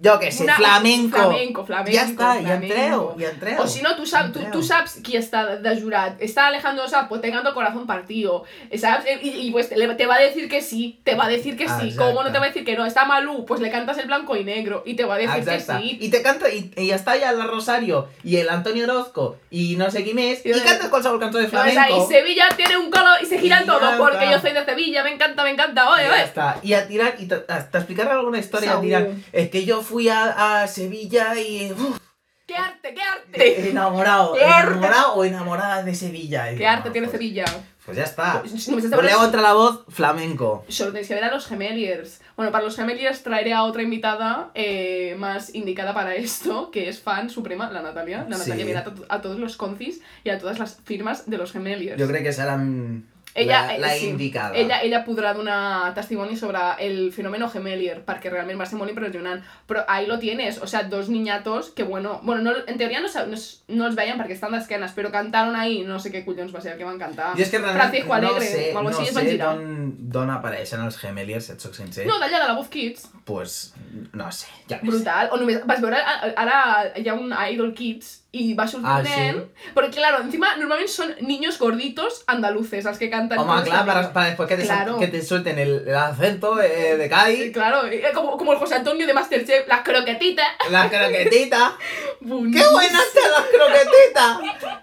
jo que sé, Una- flamenco. Flamenco, flamenco. Ja està, ja flamenco. entreu, ja entreu. O si no, tú sabes, tú, Entreu. tú sabes quién está de jurat. Está Alejandro Sanz, pues teniendo el corazón partido. ¿Sabes? Y, y, pues te, le- te va a decir que sí, te va a decir que sí. Exacte. ¿Cómo no te va a decir que no? Está Malú, pues le cantas el blanco y negro y te va a decir Exacte. que sí. I te canta, i, i està ja la Rosario, i el Antonio Orozco, i no sé qui més, I i de- canta qualsevol cançó de ¿Sabes? Ahí flamenco. Sevilla tiene un color y se giran Y todos ya porque está. yo soy de Sevilla, me encanta, me encanta. Oye, Y ya oye. está. Y a tirar, y te, a- te explicarán alguna historia, a Saúl. tirar. Es que yo fui a, a Sevilla y. [LAUGHS] uf, eh, ¡Qué arte, qué arte! enamorado. Qué arte. Enamorado o enamorada de Sevilla. Y ¡Qué digo, arte no, tiene pues- Sevilla! Pues ya está. No me estás Volea hablando- contra la voz, flamenco. Solo tenéis que ver a los gemeliers. Bueno, para los gemeliers traeré a otra invitada eh, más indicada para esto, que es fan suprema, la Natalia. La Sí. Natalia viene a, to- a todos los concis y a todas las firmas de los gemeliers. Yo creo que será mm, ella, la, eh, la sí. indicada. Ella, ella podrà donar testimoni sobre el fenómeno Gemelier, perquè realment va ser molt impressionant. Però ahí lo tienes, o sea, dos niñatos que, bueno, bueno no, en teoria no, sa- no, es- no els veien perquè estan d'esquenes, però cantaron ahí, no sé què collons va ser el que van cantar. Jo és que realment Ah, Francisco no Alegre, sé, o algo no així, es van sé girar. d'on, d'on apareixen els gemeliers, si et soc sincer. No, d'allà de la Voz Kids. Pues no sé, ja ves. Brutal. O només vas veure, a- a- ara hi ha un Idol Kids i va sortir Ah, un nen, però claro, encima normalment són niños gorditos andaluces els que canten. Home, cosas clar, así. para, para después que te, sol- Claro. que te suelten el, el acento eh, de Sí, Cádiz, Claro, eh, como, como el José Antonio de Masterchef, las croquetitas. la [LAUGHS] croquetita. Buenísimo. ¡Qué buenas están las croquetitas!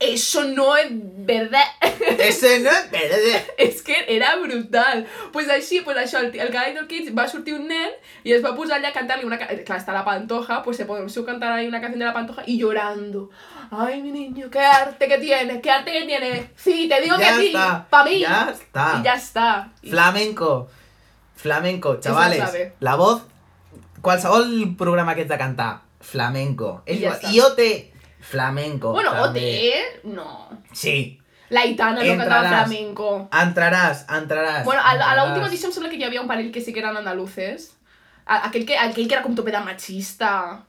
Eso no es verdad. Ese no es verde. És que era brutal. Pues així, pues això, el, ti- el Idol Kids va sortir un nen i es va posar allà a cantar-li una... ca- eh, Clar, està la Pantoja, pues se puso a cantar ahí una canción de la Pantoja y llorando. Ay, mi niño, qué arte que tienes, qué arte que tienes. Sí, te digo Ya que sí, está, pa' mí. ya está. Y ya está. I- Flamenco. Flamenco, chavales. sabe. La voz. Qualsevol programa que ets de cantar. Flamenco. I ja És igual. està. IOT. Flamenco. Bueno, també. OT, no. Sí. La Itana no cantava Entraràs. flamenco. Entraràs, entraràs. Bueno, a, la- a la última entraràs. edició em sembla que hi havia un parell que sí que eren andaluces. A- Aquell que, aquell que era com tope de machista.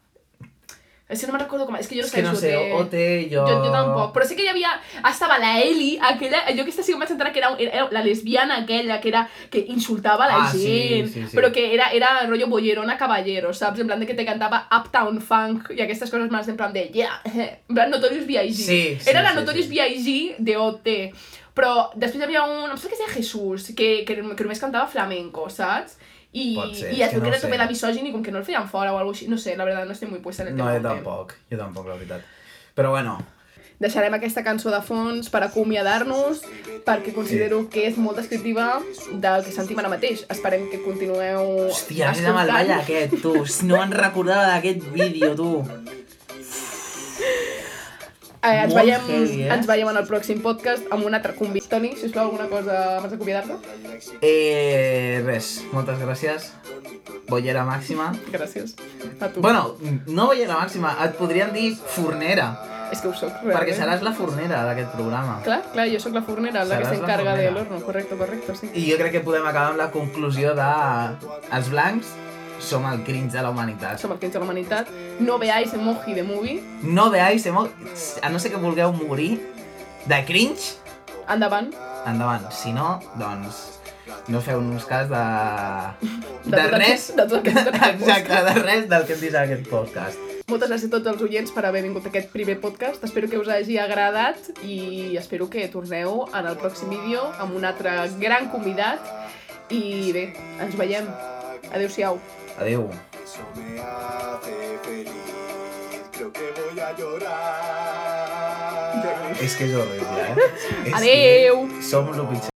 Es que no me recuerdo cómo... Es que yo no És que no sé, OT. OT, jo... Jo, jo tampoc, però sí que hi havia, estava la Eli, aquella, jo aquesta sí que em vaig entrar que era, era la lesbiana aquella, que era, que insultava la Ah, sí, gent, sí, sí. però que era, era rollo bollerona caballero, saps? En plan de que te cantava Uptown Funk i aquestes coses més en plan de, yeah, [LAUGHS] en plan Notorious B.I.G. Sí, sí, era la sí, Notorious sí. B.I.G. de OT. Però després hi havia un, em sembla que es deia Jesús, que, que, que només cantava flamenco, saps? I, Pot ser, i es és que veu que no ho era sé. també la misògina i com que no el feien fora o alguna així, no sé, la veritat no estic molt puesta en el No, tema. jo del tema. tampoc, jo tampoc, la veritat. Però bueno, Deixarem aquesta cançó de fons per acomiadar-nos, perquè considero que és molt descriptiva del que sentim ara mateix. Esperem que continueu hòstia, anem amb el ball aquest, tu. No em recordava d'aquest vídeo, tu. Eh, ens, Molt veiem, heavy, eh? ens veiem en el pròxim podcast amb un altre convit. Toni, sisplau, alguna cosa abans d'acomiadar-te? Eh, res, moltes gràcies. Bollera màxima. Gràcies. A tu. Bueno, no bollera màxima, et podríem dir fornera, és que ho soc, realment. perquè seràs la fornera d'aquest programa. Clar, clar, jo sóc la fornera, la que Seràs la s'encarga de fornera. l'horno. Correcto, correcto, sí. I jo crec que podem acabar amb la conclusió de... Els blancs som el cringe de la humanitat. Som el que ens de la humanitat. No veáis emoji de movie. No veáis, emo... a no ser que vulgueu morir de cringe, Endavant. endavant. Si no, doncs no feu nos cas de... De, tot el que- res. De tot el que ens dona aquest Exacte, de res del que hem dit en aquest podcast. Moltes gràcies a tots els oients per haver vingut a aquest primer podcast. Espero que us hagi agradat i espero que torneu en el pròxim vídeo amb un altre gran convidat. I bé, ens veiem. Adéu-siau. Adéu. Eso me hace feliz. Creo que voy a llorar. Es que es horrible, ¿eh? Es que Adéu! somos lo pinche.